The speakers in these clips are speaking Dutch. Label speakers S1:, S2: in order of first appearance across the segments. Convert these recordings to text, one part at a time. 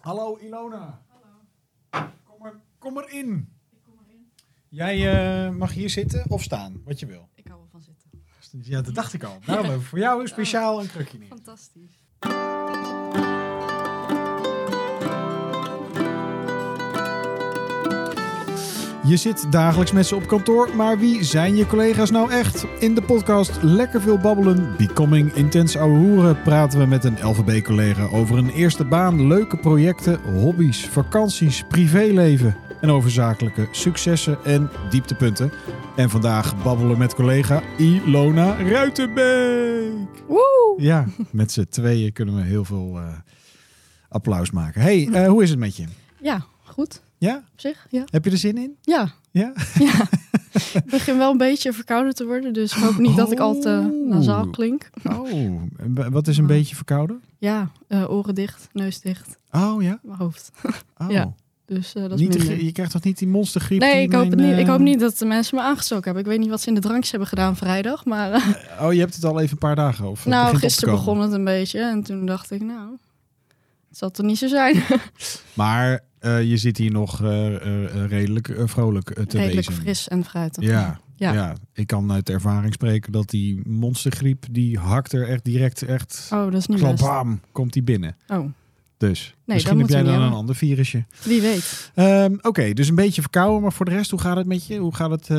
S1: Hallo Ilona,
S2: Hallo,
S1: kom, er, kom erin.
S2: ik kom erin.
S1: Jij eh, mag hier zitten of staan, wat je wil.
S2: Ik hou wel van zitten.
S1: Ja, dat dacht ik al. Daarom hebben we voor jou speciaal een krukje neer.
S2: Fantastisch.
S1: Je zit dagelijks met ze op kantoor, maar wie zijn je collega's nou echt? In de podcast Lekker Veel Babbelen, Becoming Intens Ouwe Hoeren praten we met een LVB-collega over een eerste baan, leuke projecten, hobby's, vakanties, privéleven en over zakelijke successen en dieptepunten. En vandaag babbelen met collega Ilona Ruitenbeek.
S2: Woe!
S1: Ja, met z'n tweeën kunnen we heel veel eh, applaus maken. hey, eh, hoe is het met je?
S2: Ja, goed.
S1: Ja?
S2: Op zich, ja.
S1: Heb je er zin in?
S2: Ja,
S1: Ja?
S2: ik begin wel een beetje verkouden te worden, dus ik hoop niet dat ik al te
S1: Oh.
S2: nasaal klink.
S1: Oh, en wa- wat is een
S2: Ah.
S1: beetje verkouden?
S2: Ja, eh, oren dicht, neus dicht,
S1: Oh ja.
S2: mijn hoofd.
S1: Oh.
S2: Ja, Dus eh, dat is
S1: niet de
S2: minder.
S1: grie- je krijgt toch niet die monstergriep?
S2: Nee,
S1: die
S2: ik hoop, het
S1: mijn,
S2: niet. ik
S1: eh,
S2: hoop niet dat de mensen me aangestoken hebben. Ik weet niet wat ze in de drankjes hebben gedaan vrijdag. Maar eh,
S1: Oh, je hebt het al even een paar dagen of het
S2: nou,
S1: begint op te
S2: gisteren
S1: komen.
S2: begon het een beetje. En toen dacht ik, nou, het zal toch niet zo zijn.
S1: Maar eh, je zit hier nog eh, eh, eh, redelijk eh, vrolijk eh, te
S2: Redelijk
S1: wezen.
S2: fris en fruitig.
S1: Ja, ja.
S2: Ja.
S1: ik kan uit ervaring spreken dat die monstergriep, die hakt er echt direct, echt,
S2: Oh, dat is niet best.
S1: klabam, komt die binnen.
S2: Oh,
S1: Dus
S2: dat
S1: misschien heb
S2: moeten
S1: jij
S2: we
S1: dan
S2: niet
S1: een
S2: hebben.
S1: ander virusje.
S2: wie weet.
S1: Ehm, Oké, dus een beetje verkouden, maar voor de rest, hoe gaat het met je? Hoe gaat het, eh,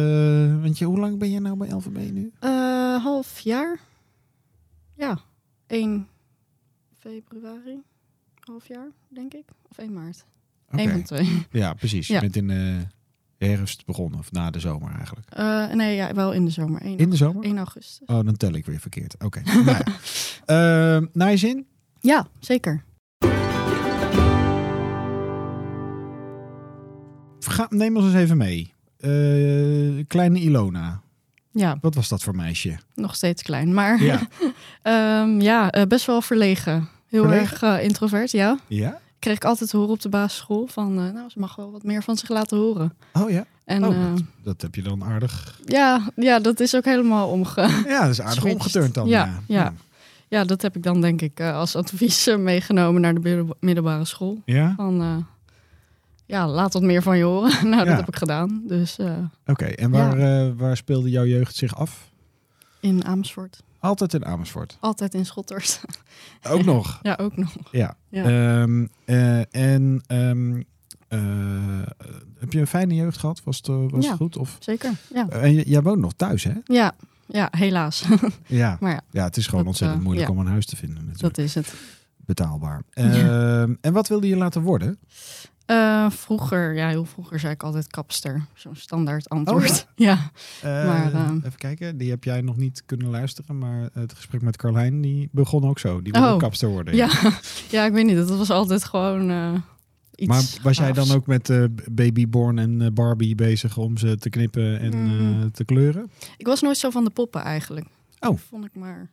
S1: want je, hoe lang ben je nou bij LVB nu?
S2: Eh, half jaar. Ja, 1 februari. Half jaar, denk ik. Of 1 maart.
S1: Oké.
S2: 1 van twee.
S1: Ja, precies. Je
S2: Ja.
S1: bent in de herfst begonnen, of na de zomer eigenlijk.
S2: Eh, nee, ja, wel in de zomer. 1,
S1: In de zomer?
S2: 1 augustus.
S1: Oh, dan tel ik weer verkeerd. Oké. nou ja. Ehm, naar je zin?
S2: Ja, zeker.
S1: Ga, neem ons eens even mee. Eh, kleine Ilona.
S2: Ja,
S1: Wat was dat voor meisje?
S2: nog steeds klein. Maar
S1: Ja.
S2: ehm, ja, eh, best wel verlegen. Heel
S1: Verlegen?
S2: erg eh, introvert, ja.
S1: Ja?
S2: Kreeg ik altijd te horen op de basisschool van... eh, nou, ze mag wel wat meer van zich laten horen.
S1: Oh ja.
S2: En
S1: Oh,
S2: eh,
S1: Dat heb je dan aardig.
S2: ja, ja, dat is ook helemaal omge...
S1: Ja, dat is aardig
S2: Switched.
S1: omgeturnd dan.
S2: Ja, ja. Ja, dat heb ik dan denk ik eh, als advies eh, meegenomen naar de middelba- middelbare school.
S1: Ja?
S2: Van, eh, ja, laat wat meer van je horen. nou,
S1: Ja.
S2: dat heb ik gedaan. Dus eh,
S1: Oké. En waar, eh, waar speelde jouw jeugd zich af?
S2: in Amersfoort.
S1: Altijd in Amersfoort.
S2: Altijd in Schotters.
S1: Ook nog.
S2: ja, ook nog.
S1: Ja.
S2: Ja.
S1: Ehm, eh, en ehm, eh, heb je een fijne jeugd gehad? Was het, eh, was
S2: Ja.
S1: het goed? Of
S2: Zeker, ja.
S1: Uh, En j- jij woont nog thuis, hè?
S2: Ja, ja helaas.
S1: Ja.
S2: Maar ja,
S1: Ja, het is gewoon
S2: Dat,
S1: ontzettend
S2: eh,
S1: moeilijk om
S2: ja.
S1: een huis te vinden natuurlijk.
S2: dat is het.
S1: Betaalbaar.
S2: Ja.
S1: Ehm, en wat wilde je laten worden?
S2: Eh, vroeger, ja, heel vroeger zei ik altijd kapster. Zo'n standaard antwoord.
S1: Oh,
S2: ja.
S1: Eh,
S2: Maar, eh,
S1: even kijken, die heb jij nog niet kunnen luisteren, maar het gesprek met Carlijn, die begon ook zo. Die wilde
S2: Oh.
S1: ook kapster worden.
S2: Ja. Ja. ik weet niet. Dat was altijd gewoon eh, iets
S1: Maar was jij
S2: gaafs.
S1: dan ook met eh, Babyborn en eh, Barbie bezig om ze te knippen en
S2: Mm.
S1: eh, te kleuren?
S2: Ik was nooit zo van de poppen eigenlijk.
S1: Oh.
S2: Vond ik maar...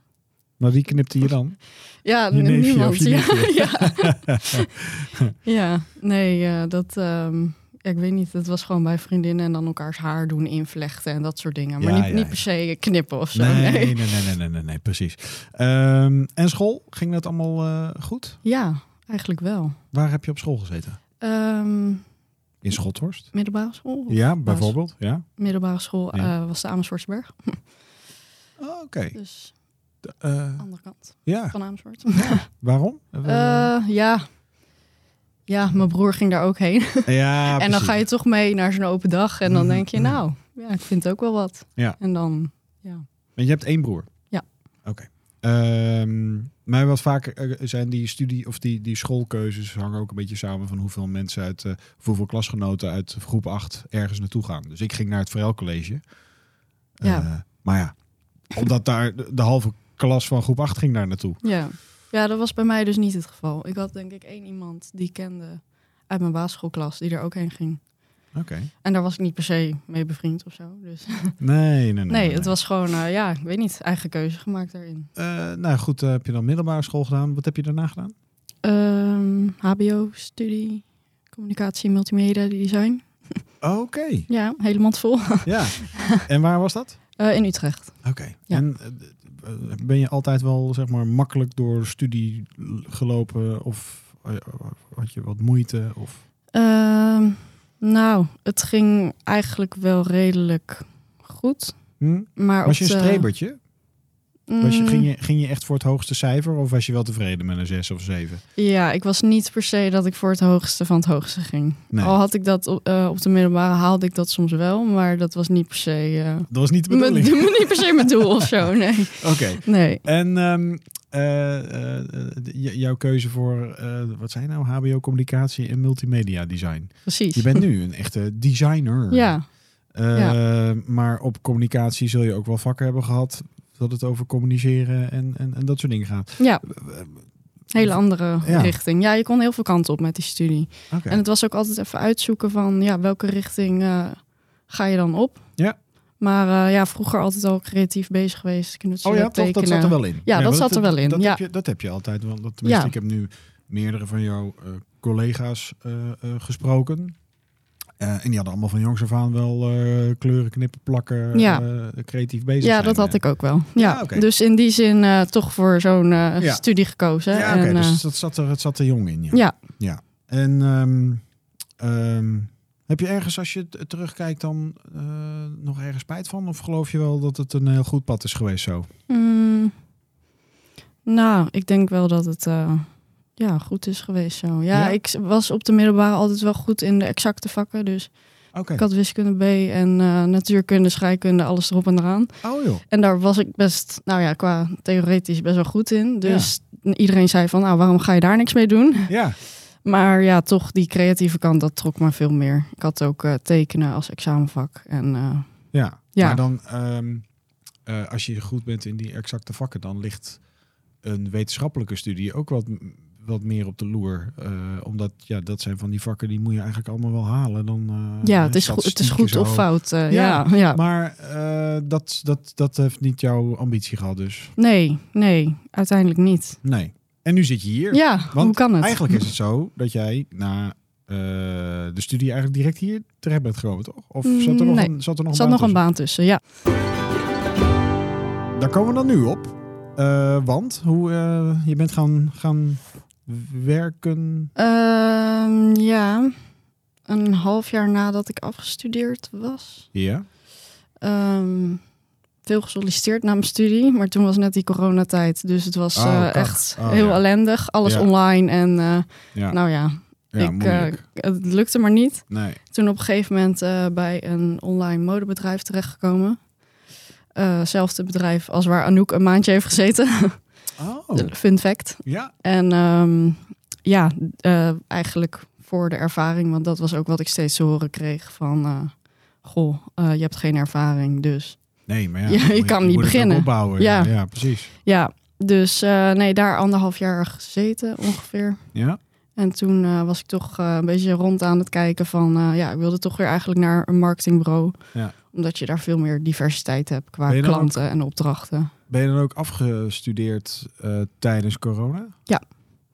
S1: Maar wie knipte je dan?
S2: Ja,
S1: Je
S2: n-
S1: neefje
S2: niemand.
S1: of je nichtje.
S2: ja, ja. ja, nee, eh, dat. ehm, ja, ik weet niet, dat was gewoon bij vriendinnen en dan elkaars haar doen invlechten en dat soort dingen. Maar
S1: Ja,
S2: niet,
S1: ja, ja.
S2: niet per se knippen of zo.
S1: nee, nee,
S2: Nee.
S1: nee, nee, nee, nee, nee, precies. Ehm, en school, ging dat allemaal eh, goed?
S2: Ja, eigenlijk wel.
S1: Waar heb je op school gezeten?
S2: Ehm,
S1: In Schothorst?
S2: middelbare school?
S1: Ja, bijvoorbeeld. Ja.
S2: Middelbare school
S1: Ja.
S2: eh, was de Amersfoortsberg.
S1: Oh, Oké.
S2: Dus
S1: D- eh,
S2: andere kant
S1: ja.
S2: van Amersfoort.
S1: Waarom? Eh,
S2: Eh, ja. ja, mijn broer ging daar ook heen.
S1: ja,
S2: en dan
S1: precies.
S2: ga je toch mee naar zo'n open dag. En dan
S1: Mhm,
S2: denk je,
S1: mhm.
S2: nou, ja, ik vind ook wel wat.
S1: Ja.
S2: En dan
S1: Want je hebt één broer.
S2: Ja.
S1: Oké. Ehm, maar wat vaker eh, zijn die studie of die, die schoolkeuzes hangen ook een beetje samen van hoeveel mensen uit, eh, of hoeveel klasgenoten uit groep 8 ergens naartoe gaan. Dus ik ging naar het Verel College.
S2: Ja.
S1: Eh, maar ja, omdat daar de, de halve klas van groep 8 ging daar naartoe.
S2: Ja. ja, dat was bij mij dus niet het geval. Ik had denk ik één iemand die ik kende uit mijn basisschoolklas die er ook heen ging.
S1: Oké.
S2: En daar was ik niet per se mee bevriend of zo. Dus. Nee,
S1: Nee, nee, nee.
S2: het was gewoon, eh, ja, ik weet niet, eigen keuze gemaakt daarin.
S1: Eh, nou goed, eh, heb je dan middelbare school gedaan? Wat heb je daarna gedaan?
S2: Ehm, HBO-studie, communicatie, multimedia, design.
S1: Oké.
S2: Ja, helemaal vol.
S1: Ja. En waar was dat?
S2: Eh, in Utrecht.
S1: Oké.
S2: Ja.
S1: En eh, d- eh, ben je altijd wel zeg maar makkelijk door studie l- gelopen of had je wat moeite? Of...
S2: Ehm, nou, het ging eigenlijk wel redelijk goed.
S1: Hm?
S2: Maar
S1: Was je
S2: op
S1: een
S2: de-
S1: strebertje? Was je,
S2: Mm,
S1: ging, je, ging je echt voor het hoogste cijfer of was je wel tevreden met een 6 of 7?
S2: Ja, ik was niet per se dat ik voor het hoogste van het hoogste ging.
S1: Nee,
S2: Al had ik dat op, eh, op de middelbare haalde ik dat soms wel, maar dat was niet per se. eh,
S1: dat was niet de
S2: mijn,
S1: bedoeling.
S2: niet per se mijn doel of zo. Nee.
S1: Oké.
S2: nee.
S1: En ehm, eh, eh, eh, d- j- jouw keuze voor, eh, wat zijn nou, HBO communicatie en multimedia design.
S2: Precies.
S1: Je bent nu een echte designer.
S2: Ja,
S1: Eh, Maar op communicatie zul je ook wel vakken hebben gehad dat het over communiceren en, en, en dat soort dingen gaat.
S2: ja,
S1: Eh,
S2: hele andere
S1: Ja.
S2: richting. Ja, je kon heel veel kanten op met die studie.
S1: Oké.
S2: En het was ook altijd even uitzoeken van ja, welke richting eh, ga je dan op?
S1: Ja.
S2: Maar eh, ja, vroeger altijd al creatief bezig geweest. Knutselen,
S1: Oh ja, toch? Dat
S2: tekenen.
S1: zat er wel in.
S2: dat
S1: maar
S2: zat er wel in,
S1: Dat,
S2: ja.
S1: heb, je, dat heb je altijd. Want dat, tenminste,
S2: Ja.
S1: ik heb nu meerdere van jouw eh, collega's eh, eh, gesproken. Eh, en die hadden allemaal van jongs af aan wel eh, kleuren knippen, plakken,
S2: Ja.
S1: eh, creatief bezig
S2: Ja,
S1: zijn.
S2: dat had
S1: Eh,
S2: ik ook wel. Ja,
S1: Ja, oké.
S2: Dus in die zin eh, toch voor zo'n eh,
S1: Ja.
S2: studie gekozen.
S1: Ja, oké.
S2: en, eh,
S1: dus dat zat er, het zat er jong in. Ja.
S2: ja.
S1: En ehm, ehm, heb je ergens, als je t- terugkijkt, dan eh, nog ergens spijt van? Of geloof je wel dat het een heel goed pad is geweest zo?
S2: Mm, nou, ik denk wel dat het eh, ja, goed is geweest zo. Ja,
S1: Ja?
S2: ik was op de middelbare altijd wel goed in de exacte vakken. Dus
S1: Oké.
S2: ik had wiskunde B en eh, natuurkunde, scheikunde, alles erop en eraan.
S1: Oh joh.
S2: En daar was ik best, nou ja, qua theoretisch best wel goed in. Dus iedereen zei van, nou, waarom ga je daar niks mee doen?
S1: Ja.
S2: Maar ja, toch die creatieve kant, dat trok me veel meer. Ik had ook eh, tekenen als examenvak. En eh,
S1: Ja,
S2: Ja.
S1: maar dan ehm, eh, als je goed bent in die exacte vakken, dan ligt een wetenschappelijke studie ook wat, wat meer op de loer. Eh, omdat ja, dat zijn van die vakken die moet je eigenlijk allemaal wel halen. Dan, eh,
S2: ja, het is, goed, het is
S1: statistieken
S2: goed
S1: zo.
S2: of fout. eh,
S1: Ja,
S2: ja, ja.
S1: Maar eh, dat, dat, dat heeft niet jouw ambitie gehad, dus
S2: Nee, nee, uiteindelijk niet.
S1: nee. En nu zit je hier.
S2: Ja,
S1: Want
S2: hoe kan het?
S1: Eigenlijk is het zo dat jij na eh, de studie eigenlijk direct hier terecht bent gekomen, toch? Of zat er nog
S2: Mm, Nee.
S1: een, zat er nog
S2: Er
S1: een
S2: zat
S1: baan
S2: nog een
S1: tussen?
S2: baan tussen, ja.
S1: Daar komen we dan nu op. Eh, want hoe, eh, je bent gaan, gaan werken.
S2: Ehm, ja, een half jaar nadat ik afgestudeerd was.
S1: Ja.
S2: ehm, veel gesolliciteerd na mijn studie, maar toen was net die coronatijd. Dus het was
S1: Oh,
S2: eh,
S1: kak.
S2: echt
S1: Oh,
S2: heel
S1: ja.
S2: ellendig. Alles
S1: Ja.
S2: online en eh,
S1: Ja,
S2: nou ja,
S1: ja
S2: ik,
S1: moeilijk.
S2: eh, het lukte maar niet.
S1: nee.
S2: Toen op een gegeven moment eh, bij een online modebedrijf terechtgekomen. Eh, zelfde bedrijf als waar Anouk een maandje heeft gezeten.
S1: Oh,
S2: Fun fact.
S1: ja.
S2: En ehm, ja, eh, eigenlijk voor de ervaring, want dat was ook wat ik steeds te horen kreeg van... eh, goh, eh, je hebt geen ervaring, dus...
S1: Nee, maar ja.
S2: Ja, je
S1: moet
S2: kan
S1: je moet
S2: niet
S1: het ook
S2: beginnen.
S1: Opbouwen. Ja. ja,
S2: Ja.
S1: precies.
S2: Ja, dus eh, nee, daar anderhalf jaar gezeten ongeveer.
S1: Ja.
S2: En toen eh, was ik toch eh, een beetje rond aan het kijken van... eh, ja, ik wilde toch weer eigenlijk naar een marketingbureau.
S1: Ja.
S2: Omdat je daar veel meer diversiteit hebt qua
S1: Ben je dan ook-
S2: klanten en opdrachten.
S1: Ben je dan ook afgestudeerd eh, tijdens corona?
S2: Ja.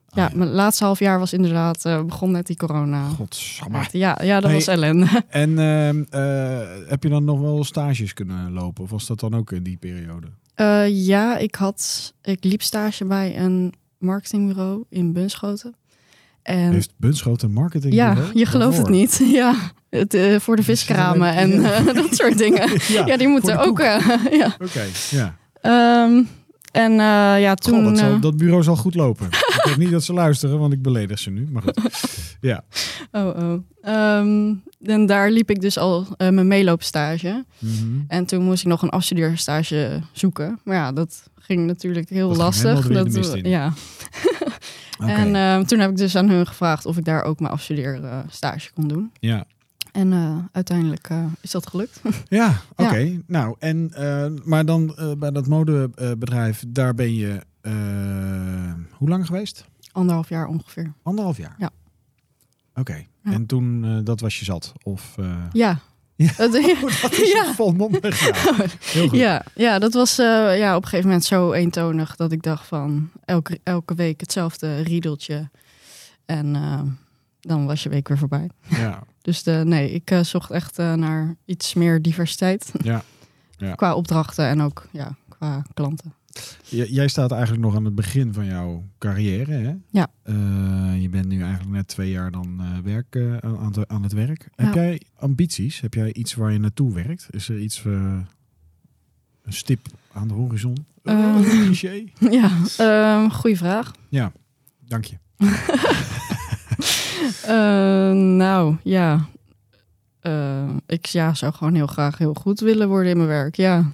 S1: Ah,
S2: Ja, mijn laatste half jaar was inderdaad... eh, begon net die corona.
S1: Godsamme.
S2: Ja, ja, dat
S1: Hey.
S2: was ellende.
S1: En ehm, eh, heb je dan nog wel stages kunnen lopen? Of was dat dan ook in die periode?
S2: Eh, ja, ik, had, ik liep stage bij een marketingbureau in Bunschoten. En
S1: Heeft Bunschoten marketing?
S2: ja,
S1: bureau?
S2: je gelooft het
S1: Waarvoor?
S2: niet. Ja, het, eh, voor de
S1: Dit is
S2: viskramen en
S1: alleen- Ja.
S2: eh, dat soort dingen.
S1: ja.
S2: Ja, die moeten
S1: voor de
S2: ook. eh, ja.
S1: Oké, ja.
S2: Ehm, en eh, ja, toen.
S1: Goh, dat, zal-
S2: eh,
S1: dat bureau zal goed lopen. ik hoop niet dat ze luisteren, want ik beledig ze nu. Maar goed.
S2: oh, oh. Ehm, en daar liep ik dus al eh, mijn meeloopstage.
S1: Mhm.
S2: En toen moest ik nog een afstudeerstage zoeken. Maar ja, dat ging natuurlijk heel
S1: Dat ging
S2: lastig.
S1: helemaal weer de mist in.
S2: ja,
S1: Oké,
S2: En ehm, toen heb ik dus aan hun gevraagd of ik daar ook mijn afstudeerstage stage kon doen.
S1: ja.
S2: En eh, uiteindelijk eh, is dat gelukt.
S1: Ja, oké.
S2: ja.
S1: Nou, en, eh, maar dan eh, bij dat modebedrijf, daar ben je eh, hoe lang geweest?
S2: Anderhalf jaar ongeveer.
S1: Anderhalf jaar?
S2: Ja.
S1: Oké,
S2: Ja.
S1: en toen, eh, dat was je zat? Of, eh,
S2: Ja.
S1: Ja.
S2: Dat- ja.
S1: Oh, dat is
S2: Ja.
S1: volmondig. Ja. Heel goed.
S2: Ja, dat was eh, ja, op een gegeven moment zo eentonig dat ik dacht van elke, elke week hetzelfde riedeltje. En eh, dan was je week weer voorbij.
S1: Ja.
S2: Dus de, nee, ik eh, zocht echt eh, naar iets meer diversiteit.
S1: Ja. Ja.
S2: Qua opdrachten en ook ja, qua klanten.
S1: J- jij staat eigenlijk nog aan het begin van jouw carrière, hè?
S2: Ja.
S1: Eh, je bent nu eigenlijk net twee jaar dan eh, werk, eh, aan, het- aan het werk.
S2: Ja.
S1: Heb jij ambities? Heb jij iets waar je naartoe werkt? Is er iets, eh, een stip aan de horizon?
S2: Eh.
S1: Oh, cliché.
S2: ja, ehm goede vraag.
S1: Dank je.
S2: Eh, nou, ja. Eh, ik ja, zou gewoon heel graag heel goed willen worden in mijn werk, ja.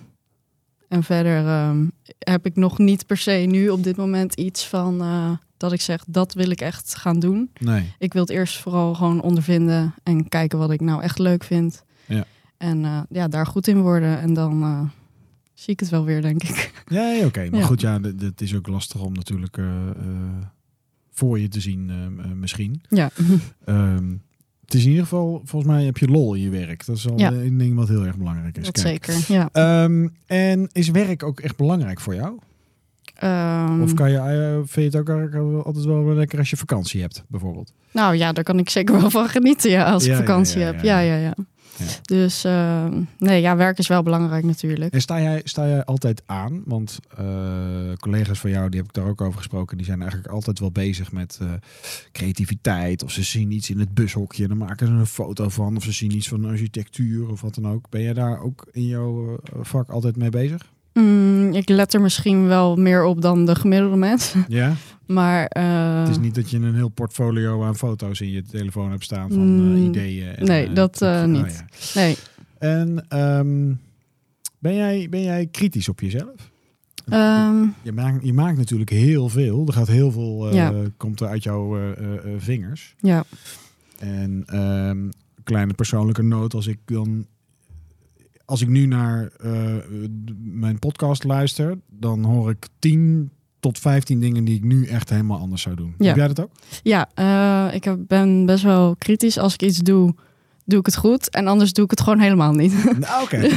S2: En verder ehm, heb ik nog niet per se nu op dit moment iets van eh, dat ik zeg, dat wil ik echt gaan doen.
S1: Nee.
S2: Ik wil het eerst vooral gewoon ondervinden en kijken wat ik nou echt leuk vind.
S1: Ja.
S2: En eh, ja, daar goed in worden en dan eh, zie ik het wel weer, denk ik.
S1: Ja, ja, oké. Maar
S2: Ja.
S1: goed, ja, d- d- het is ook lastig om natuurlijk eh, eh, voor je te zien eh, m- eh, misschien.
S2: Ja,
S1: Ehm, het is in ieder geval, volgens mij heb je lol in je werk. Dat is al
S2: Ja.
S1: een ding wat heel erg belangrijk is.
S2: dat
S1: Kijk.
S2: zeker. Ja.
S1: Ehm, en is werk ook echt belangrijk voor jou?
S2: Ehm,
S1: Of kan je, eh, vind je het ook eigenlijk wel- altijd wel weer lekker als je vakantie hebt, bijvoorbeeld?
S2: Nou ja, daar kan ik zeker wel van genieten ja, als
S1: Ja,
S2: ik
S1: ja,
S2: vakantie
S1: ja,
S2: heb.
S1: ja,
S2: Ja,
S1: ja.
S2: ja, ja.
S1: Ja.
S2: Dus eh, nee, ja, werk is wel belangrijk natuurlijk.
S1: En sta jij, sta jij altijd aan? Want eh, collega's van jou, die heb ik daar ook over gesproken, die zijn eigenlijk altijd wel bezig met eh, creativiteit. Of ze zien iets in het bushokje en dan maken ze een foto van. Of ze zien iets van architectuur of wat dan ook. Ben jij daar ook in jouw eh, vak altijd mee bezig?
S2: Mm, ik let er misschien wel meer op dan de gemiddelde mens.
S1: Ja.
S2: Maar eh,
S1: Het is niet dat je een heel portfolio aan foto's in je telefoon hebt staan van eh,
S2: Mm,
S1: ideeën. En,
S2: nee,
S1: eh,
S2: dat, eh,
S1: trucjes.
S2: niet. nee,
S1: En ehm, ben, jij, ben jij kritisch op jezelf?
S2: ehm,
S1: Je maakt, je maakt natuurlijk heel veel. Er gaat heel veel eh,
S2: Ja.
S1: komt er uit jouw eh, eh, eh, vingers.
S2: ja.
S1: En ehm, kleine persoonlijke noot, als ik dan. Als ik nu naar eh, d- mijn podcast luister, dan hoor ik 10 tot 15 dingen die ik nu echt helemaal anders zou doen.
S2: Ja.
S1: Heb jij dat ook?
S2: ja eh, ik heb- ben best wel kritisch. Als ik iets doe, doe ik het goed. En anders doe ik het gewoon helemaal niet.
S1: Nou, Oké,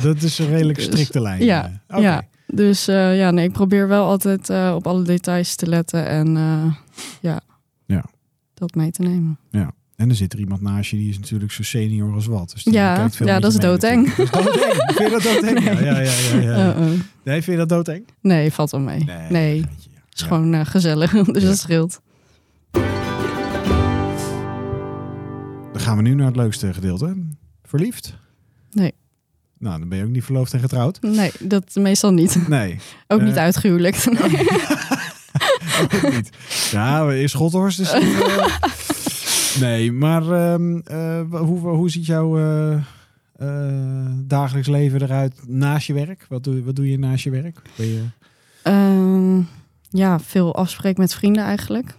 S1: dat is een redelijk
S2: Dus,
S1: strikte lijn.
S2: ja,
S1: eh. Oké.
S2: ja. Dus eh, ja, nee, ik probeer wel altijd eh, op alle details te letten. En eh, ja,
S1: Ja.
S2: dat mee te nemen.
S1: En dan zit er iemand naast je, die is natuurlijk zo senior als wat. Dus die
S2: Ja,
S1: kijkt veel
S2: ja,
S1: met
S2: dat
S1: je
S2: is
S1: mee
S2: doodeng.
S1: natuurlijk. Dat is doodeng. Vind je dat doodeng? Ja,
S2: Nee.
S1: Ja, ja, ja, ja.
S2: Uh-uh.
S1: Nee, vind je dat doodeng?
S2: Nee, valt wel mee. Nee, het
S1: weet je, ja.
S2: is gewoon eh, gezellig, dus
S1: Ja.
S2: dat scheelt.
S1: Dan gaan we nu naar het leukste gedeelte. Verliefd?
S2: Nee.
S1: Nou, dan ben je ook niet verloofd en getrouwd.
S2: Nee, dat meestal niet.
S1: Nee,
S2: Ook
S1: Eh.
S2: niet uitgehuwelijkt. Nee.
S1: ook niet. Ja, in Schothorst is het, eh, Nee, maar ehm, eh, hoe, hoe ziet jouw eh, eh, dagelijks leven eruit naast je werk? Wat doe, wat doe je naast je werk? Ben je...
S2: Ehm, ja, veel afspreken met vrienden eigenlijk.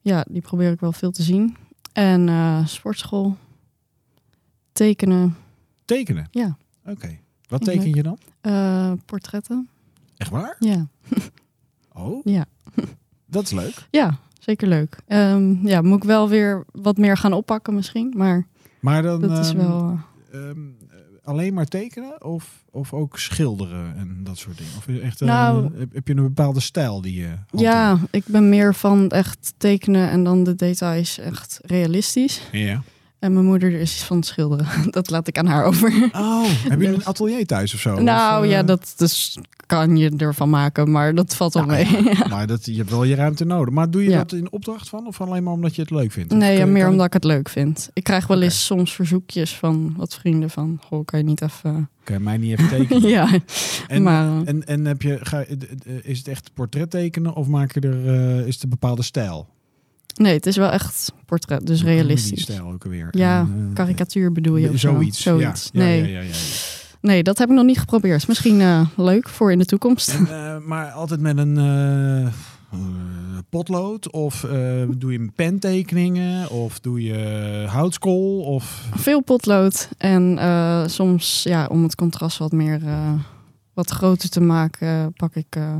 S2: Ja, die probeer ik wel veel te zien. En eh, sportschool. Tekenen.
S1: Tekenen?
S2: Ja.
S1: Oké. Wat
S2: Vind ik
S1: teken je dan?
S2: eh, portretten.
S1: Echt waar?
S2: Ja.
S1: Oh.
S2: Ja.
S1: Dat is leuk.
S2: ja, zeker leuk. Ehm, ja, moet ik wel weer wat meer gaan oppakken misschien. Maar
S1: Maar dan
S2: dat is
S1: ehm,
S2: wel... eh,
S1: ehm, eh, alleen maar tekenen of, of ook schilderen en dat soort dingen? Of is echt, eh,
S2: Nou-
S1: heb, heb je een bepaalde stijl die je hanteert?
S2: ja, ik ben meer van echt tekenen en dan de details echt realistisch.
S1: ja.
S2: En mijn moeder is van het schilderen. Dat laat ik aan haar over.
S1: Oh, heb je
S2: Dus-
S1: een atelier thuis of zo?
S2: nou
S1: Of, eh,
S2: ja, dat dus kan je ervan maken, maar dat valt wel
S1: nou ja,
S2: mee.
S1: Maar dat, je hebt wel je ruimte nodig. Maar doe je
S2: Ja.
S1: dat in opdracht van of alleen maar omdat je het leuk vindt? Of
S2: Nee, ja,
S1: kun-
S2: meer
S1: kan
S2: omdat ik het leuk vind. Ik krijg wel
S1: Oké.
S2: eens soms verzoekjes van wat vrienden van... Goh, kan je niet even...
S1: ik- Kan je mij niet even tekenen?
S2: ja,
S1: En,
S2: maar... eh,
S1: en, en heb je, ga, eh, eh, is het echt portret tekenen of maak je er, eh, is het een bepaalde stijl?
S2: Nee, het is wel echt portret, dus
S1: Hoe noemen die
S2: realistisch.
S1: stijl ook alweer.
S2: Ja,
S1: En, eh,
S2: Karikatuur bedoel je of zo?
S1: Zoiets. ja. Ja,
S2: nee.
S1: ja, ja, ja, ja.
S2: nee, dat heb ik nog niet geprobeerd. Misschien eh, leuk voor in de toekomst.
S1: En, eh, maar altijd met een eh, eh, potlood? Of eh, doe je pentekeningen? Of doe je houtskool? Of...
S2: Veel potlood en eh, soms ja, om het contrast wat meer eh, wat groter te maken, eh, pak ik eh,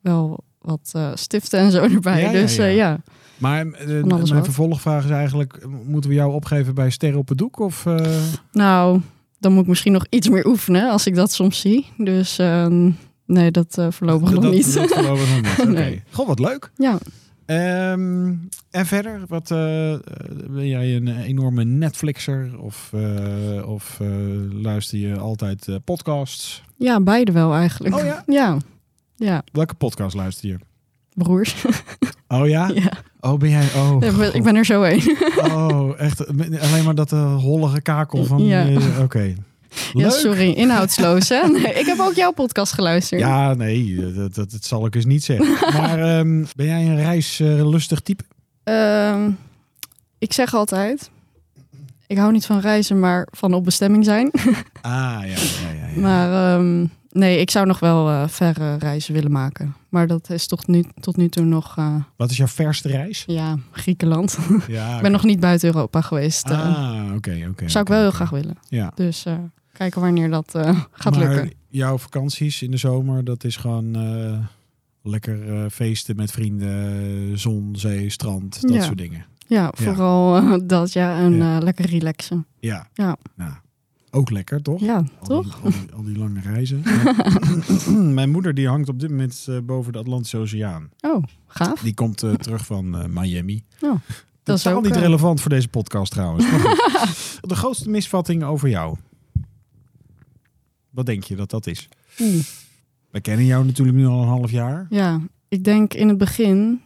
S2: wel wat eh, stiften en zo erbij.
S1: Ja, ja,
S2: dus
S1: ja.
S2: eh, ja.
S1: Maar eh,
S2: Van alles
S1: mijn
S2: wat.
S1: vervolgvraag is eigenlijk... eh, Moeten we jou opgeven bij Sterren op het Doek? Of, eh,
S2: nou, dan moet ik misschien nog iets meer oefenen als ik dat soms zie. Dus eh, nee, dat eh, voorlopig
S1: dat,
S2: nog
S1: dat-
S2: niet.
S1: Dat geloven we nog niet. Oké.
S2: Nee.
S1: Goh, wat leuk.
S2: ja,
S1: Ehm, en verder, wat, eh, eh, ben jij een enorme Netflixer? Of, eh, of eh, luister je altijd eh, podcasts?
S2: ja, beide wel eigenlijk.
S1: Oh ja?
S2: Ja. Ja,
S1: Welke podcast luister je?
S2: broers.
S1: Oh ja?
S2: ja.
S1: Oh, ben jij? Oh,
S2: ik ben- ik
S1: God.
S2: ben er zo heen.
S1: oh echt alleen maar dat eh, hollige kakel van...
S2: Ja.
S1: eh, Oké.
S2: Ja,
S1: Leuk.
S2: sorry, inhoudsloos hè. Nee, ik heb ook jouw podcast geluisterd.
S1: Ja, nee, dat, dat, dat zal ik eens niet zeggen. Maar ehm, ben jij een reislustig type?
S2: Ehm, ik zeg altijd, ik hou niet van reizen, maar van op bestemming zijn.
S1: Ah, ja, ja, ja. ja.
S2: Maar ehm, nee, ik zou nog wel eh, verre reizen willen maken. Maar dat is toch nu, tot nu toe nog, eh,
S1: Wat is jouw verste reis?
S2: ja, Griekenland.
S1: Ja,
S2: Ik ben nog niet buiten Europa geweest. eh.
S1: Ah, oké, oké.
S2: zou ik wel heel graag willen.
S1: Ja.
S2: Dus eh, kijken wanneer dat eh, gaat
S1: maar
S2: lukken.
S1: jouw vakanties in de zomer, dat is gewoon eh, lekker eh, feesten met vrienden, zon, zee, strand, dat
S2: Ja.
S1: soort dingen.
S2: Ja, vooral eh, dat, ja. En
S1: Ja.
S2: eh, lekker relaxen.
S1: Ja.
S2: Ja.
S1: Nou, ook lekker, toch?
S2: Ja,
S1: Al
S2: toch?
S1: die, al, die, al die lange reizen. Mijn moeder die hangt op dit moment eh, boven de Atlantische Oceaan.
S2: Oh, gaaf.
S1: Die komt eh, terug van eh, Miami.
S2: Ja,
S1: Dat
S2: Oh, dat
S1: is
S2: is
S1: al
S2: ook,
S1: niet
S2: eh,
S1: relevant voor deze podcast trouwens. Maar goed. de grootste misvatting over jou. Wat denk je dat dat is?
S2: Oeh.
S1: We kennen jou natuurlijk nu al een half jaar.
S2: Ja, ik denk in het begin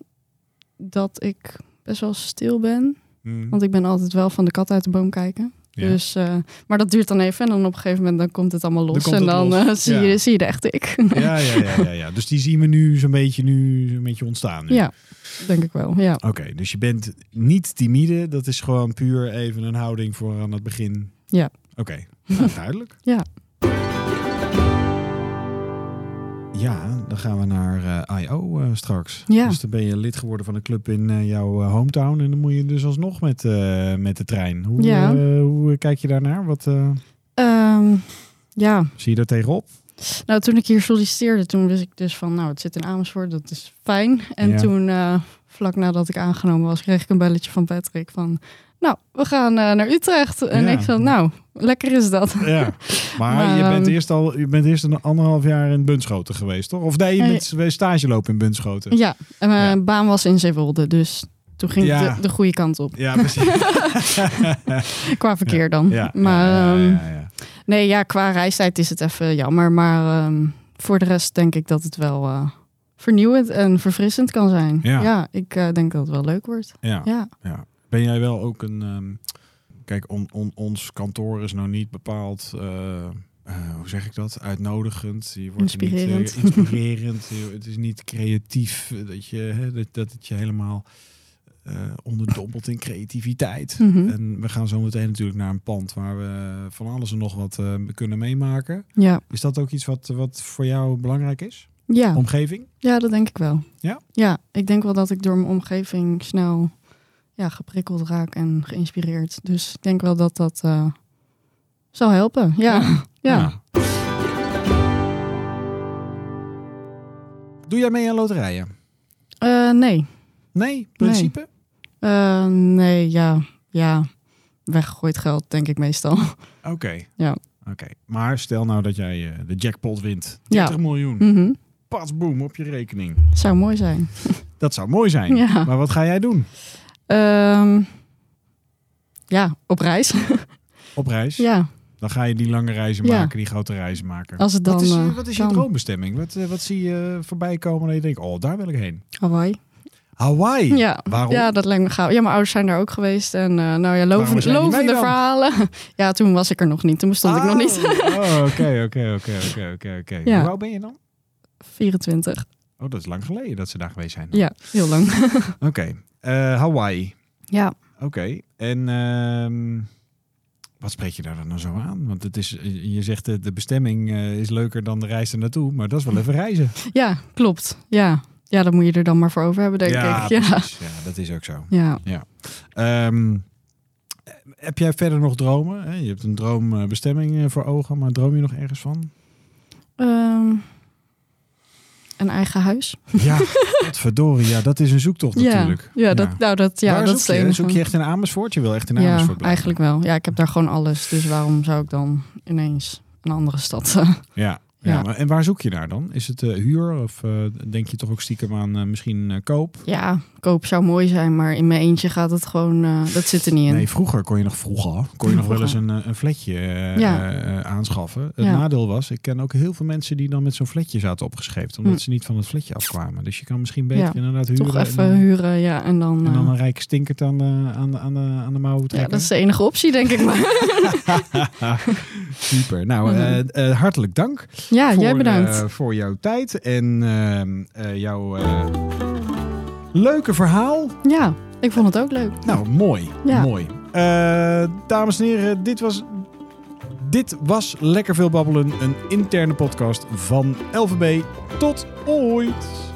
S2: dat ik best wel stil ben.
S1: Mm.
S2: Want ik ben altijd wel van de kat uit de boom kijken.
S1: Ja.
S2: Dus, eh, maar dat duurt dan even en dan op een gegeven moment dan komt het allemaal los.
S1: komt
S2: en
S1: het
S2: dan
S1: los.
S2: eh, zie,
S1: Ja.
S2: je, zie je de echte ik.
S1: Ja, ja, ja, ja, ja. Dus die zien we nu zo'n beetje, nu, zo'n beetje ontstaan. nu.
S2: ja, denk ik wel. Ja.
S1: Oké, dus je bent niet timide. Dat is gewoon puur even een houding voor aan het begin.
S2: Ja.
S1: Oké, nou, duidelijk.
S2: Ja.
S1: Ja, dan gaan we naar eh, I.O. eh, straks.
S2: Ja.
S1: Dus dan ben je lid geworden van een club in eh, jouw eh, hometown. En dan moet je dus alsnog met, eh, met de trein. Hoe,
S2: Ja.
S1: eh, hoe eh, kijk je daarnaar? Wat eh,
S2: Ehm, ja,
S1: zie je daar tegenop?
S2: nou toen ik hier solliciteerde, toen wist ik dus van nou het zit in Amersfoort, dat is fijn. En
S1: Ja.
S2: toen eh, vlak nadat ik aangenomen was, kreeg ik een belletje van Patrick van nou we gaan eh, naar Utrecht. En
S1: Ja.
S2: ik van nou lekker is dat.
S1: Ja, maar,
S2: Maar,
S1: je, bent
S2: ehm,
S1: eerst al, je bent eerst een anderhalf jaar in Bunschoten geweest, toch? Of nee, je
S2: Nee.
S1: bent stage lopen in Bunschoten.
S2: Eh, Ja, en mijn
S1: Dus- Ja.
S2: baan was in Zeewolde, dus toen ging
S1: Ja.
S2: het de, de goede kant op.
S1: Ja, precies.
S2: Qua verkeer dan.
S1: Ja,
S2: maar
S1: ja, ja,
S2: ehm,
S1: ja, ja.
S2: nee, ja, qua reistijd is het even jammer. Maar ehm, voor de rest denk ik dat het wel eh, vernieuwend en verfrissend kan zijn.
S1: Ja.
S2: ik eh, denk dat het wel leuk wordt.
S1: Ja,
S2: Ja,
S1: ja. Ben jij wel ook een... ehm, kijk, on, on- ons kantoor is nou niet bepaald... eh, eh, hoe zeg ik dat? Uitnodigend. Je wordt er Niet, eh,
S2: Inspirerend.
S1: inspirerend. Je- het is niet creatief. eh, Dat, je, hè, dat, dat het je helemaal eh onderdompelt in creativiteit.
S2: Mhm.
S1: En we gaan zo meteen natuurlijk naar een pand waar we van alles en nog wat eh, kunnen meemaken.
S2: ja.
S1: Is dat ook iets wat, wat voor jou belangrijk is?
S2: ja.
S1: Omgeving?
S2: ja dat denk ik wel.
S1: Ja?
S2: ja, ik denk wel dat ik door mijn omgeving snel ja, geprikkeld raak en geïnspireerd. Dus ik denk wel dat dat eh, zal helpen. ja. ja.
S1: Ja. Doe jij mee aan loterijen?
S2: Eh, nee.
S1: Nee, principe?
S2: Eh, nee, ja. Ja. Weggegooid geld, denk ik meestal.
S1: Oké.
S2: Ja.
S1: Oké, maar stel nou dat jij eh, de jackpot wint.
S2: Ja.
S1: 30 miljoen.
S2: Mhm.
S1: Pas boem op je rekening.
S2: Zou mooi zijn.
S1: Dat zou mooi zijn.
S2: Ja.
S1: Maar wat ga jij doen?
S2: Ehm, ja, op reis.
S1: Op reis?
S2: ja,
S1: Dan ga je die lange reizen
S2: Ja.
S1: maken, die grote reizen maken.
S2: als het dan.
S1: wat is, eh,
S2: eh,
S1: wat is je
S2: kan.
S1: droombestemming? Wat, eh, wat zie je voorbij komen dat je denkt, oh, daar wil ik heen?
S2: Hawaii.
S1: Hawaii?
S2: Ja.
S1: Waarom?
S2: ja, dat lijkt me gaaf. Ja, mijn ouders zijn daar ook geweest. En eh, nou ja,
S1: Waarom
S2: lovende,
S1: zijn die mee
S2: lovende
S1: dan?
S2: verhalen. Ja, toen was ik er nog niet. Toen bestond ik nog niet.
S1: Oh, oké, oké, oké, oké, oké, oké.
S2: Ja.
S1: Hoe oud ben je dan?
S2: 24.
S1: Oh, dat is lang geleden dat ze daar geweest zijn.
S2: Ja, heel lang.
S1: Oké, eh, Hawaii.
S2: Ja.
S1: Oké, en ehm, wat spreek je daar dan nou zo aan? Want het is, je zegt eh, de bestemming eh, is leuker dan de reis er naartoe, maar dat is wel even reizen.
S2: ja, klopt. Ja. ja, dat moet je er dan maar voor over hebben, denk
S1: ja,
S2: ik. Ja.
S1: precies. Ja, dat is ook zo.
S2: ja.
S1: Ehm, heb jij verder nog dromen? hè? Je hebt een droombestemming eh, voor ogen, maar droom je nog ergens van?
S2: Ehm, een eigen huis.
S1: Ja, verdorie, ja, dat is een zoektocht natuurlijk.
S2: Ja, ja, dat, nou, dat, ja,
S1: Waar
S2: dat
S1: zoek
S2: is
S1: je?
S2: het enige.
S1: Zoek je echt in Amersfoort? Je wil echt in
S2: ja,
S1: Amersfoort blijven?
S2: eigenlijk wel. Ja, ik heb daar gewoon alles. Dus waarom zou ik dan ineens een andere stad? eh,
S1: Ja, Ja,
S2: Ja.
S1: maar- en waar zoek je naar dan? Is het eh, huur of eh, denk je toch ook stiekem aan eh, misschien eh, koop?
S2: Ja, koop zou mooi zijn, maar in mijn eentje gaat het gewoon... eh, dat zit er niet in.
S1: Nee, vroeger kon je nog vroeger kon je nog wel eens
S2: Vroeger.
S1: een, eh, een fletje eh,
S2: Ja.
S1: eh, eh, aanschaffen. Het
S2: Ja.
S1: nadeel was, ik ken ook heel veel mensen die dan met zo'n fletje zaten opgeschreven, omdat
S2: Hm.
S1: ze niet van het fletje afkwamen. Dus je kan misschien beter
S2: Ja,
S1: inderdaad huren.
S2: Toch
S1: en
S2: even
S1: dan-
S2: huren, ja. En dan,
S1: En dan
S2: eh,
S1: een rijke stinkert aan de, aan de, aan de, aan de mouw
S2: ja,
S1: trekken.
S2: dat is de enige optie, denk ik maar.
S1: Super. Nou,
S2: Mhm.
S1: eh, eh, hartelijk dank
S2: ja,
S1: voor,
S2: jij bedankt.
S1: eh, voor jouw tijd en ehm, eh, jouw eh, leuke verhaal.
S2: ja, ik vond het ook leuk.
S1: Nou, mooi.
S2: Ja.
S1: mooi. Eh, dames en heren, dit was, dit was Lekker Veel Babbelen. Een interne podcast van LVB. Tot ooit!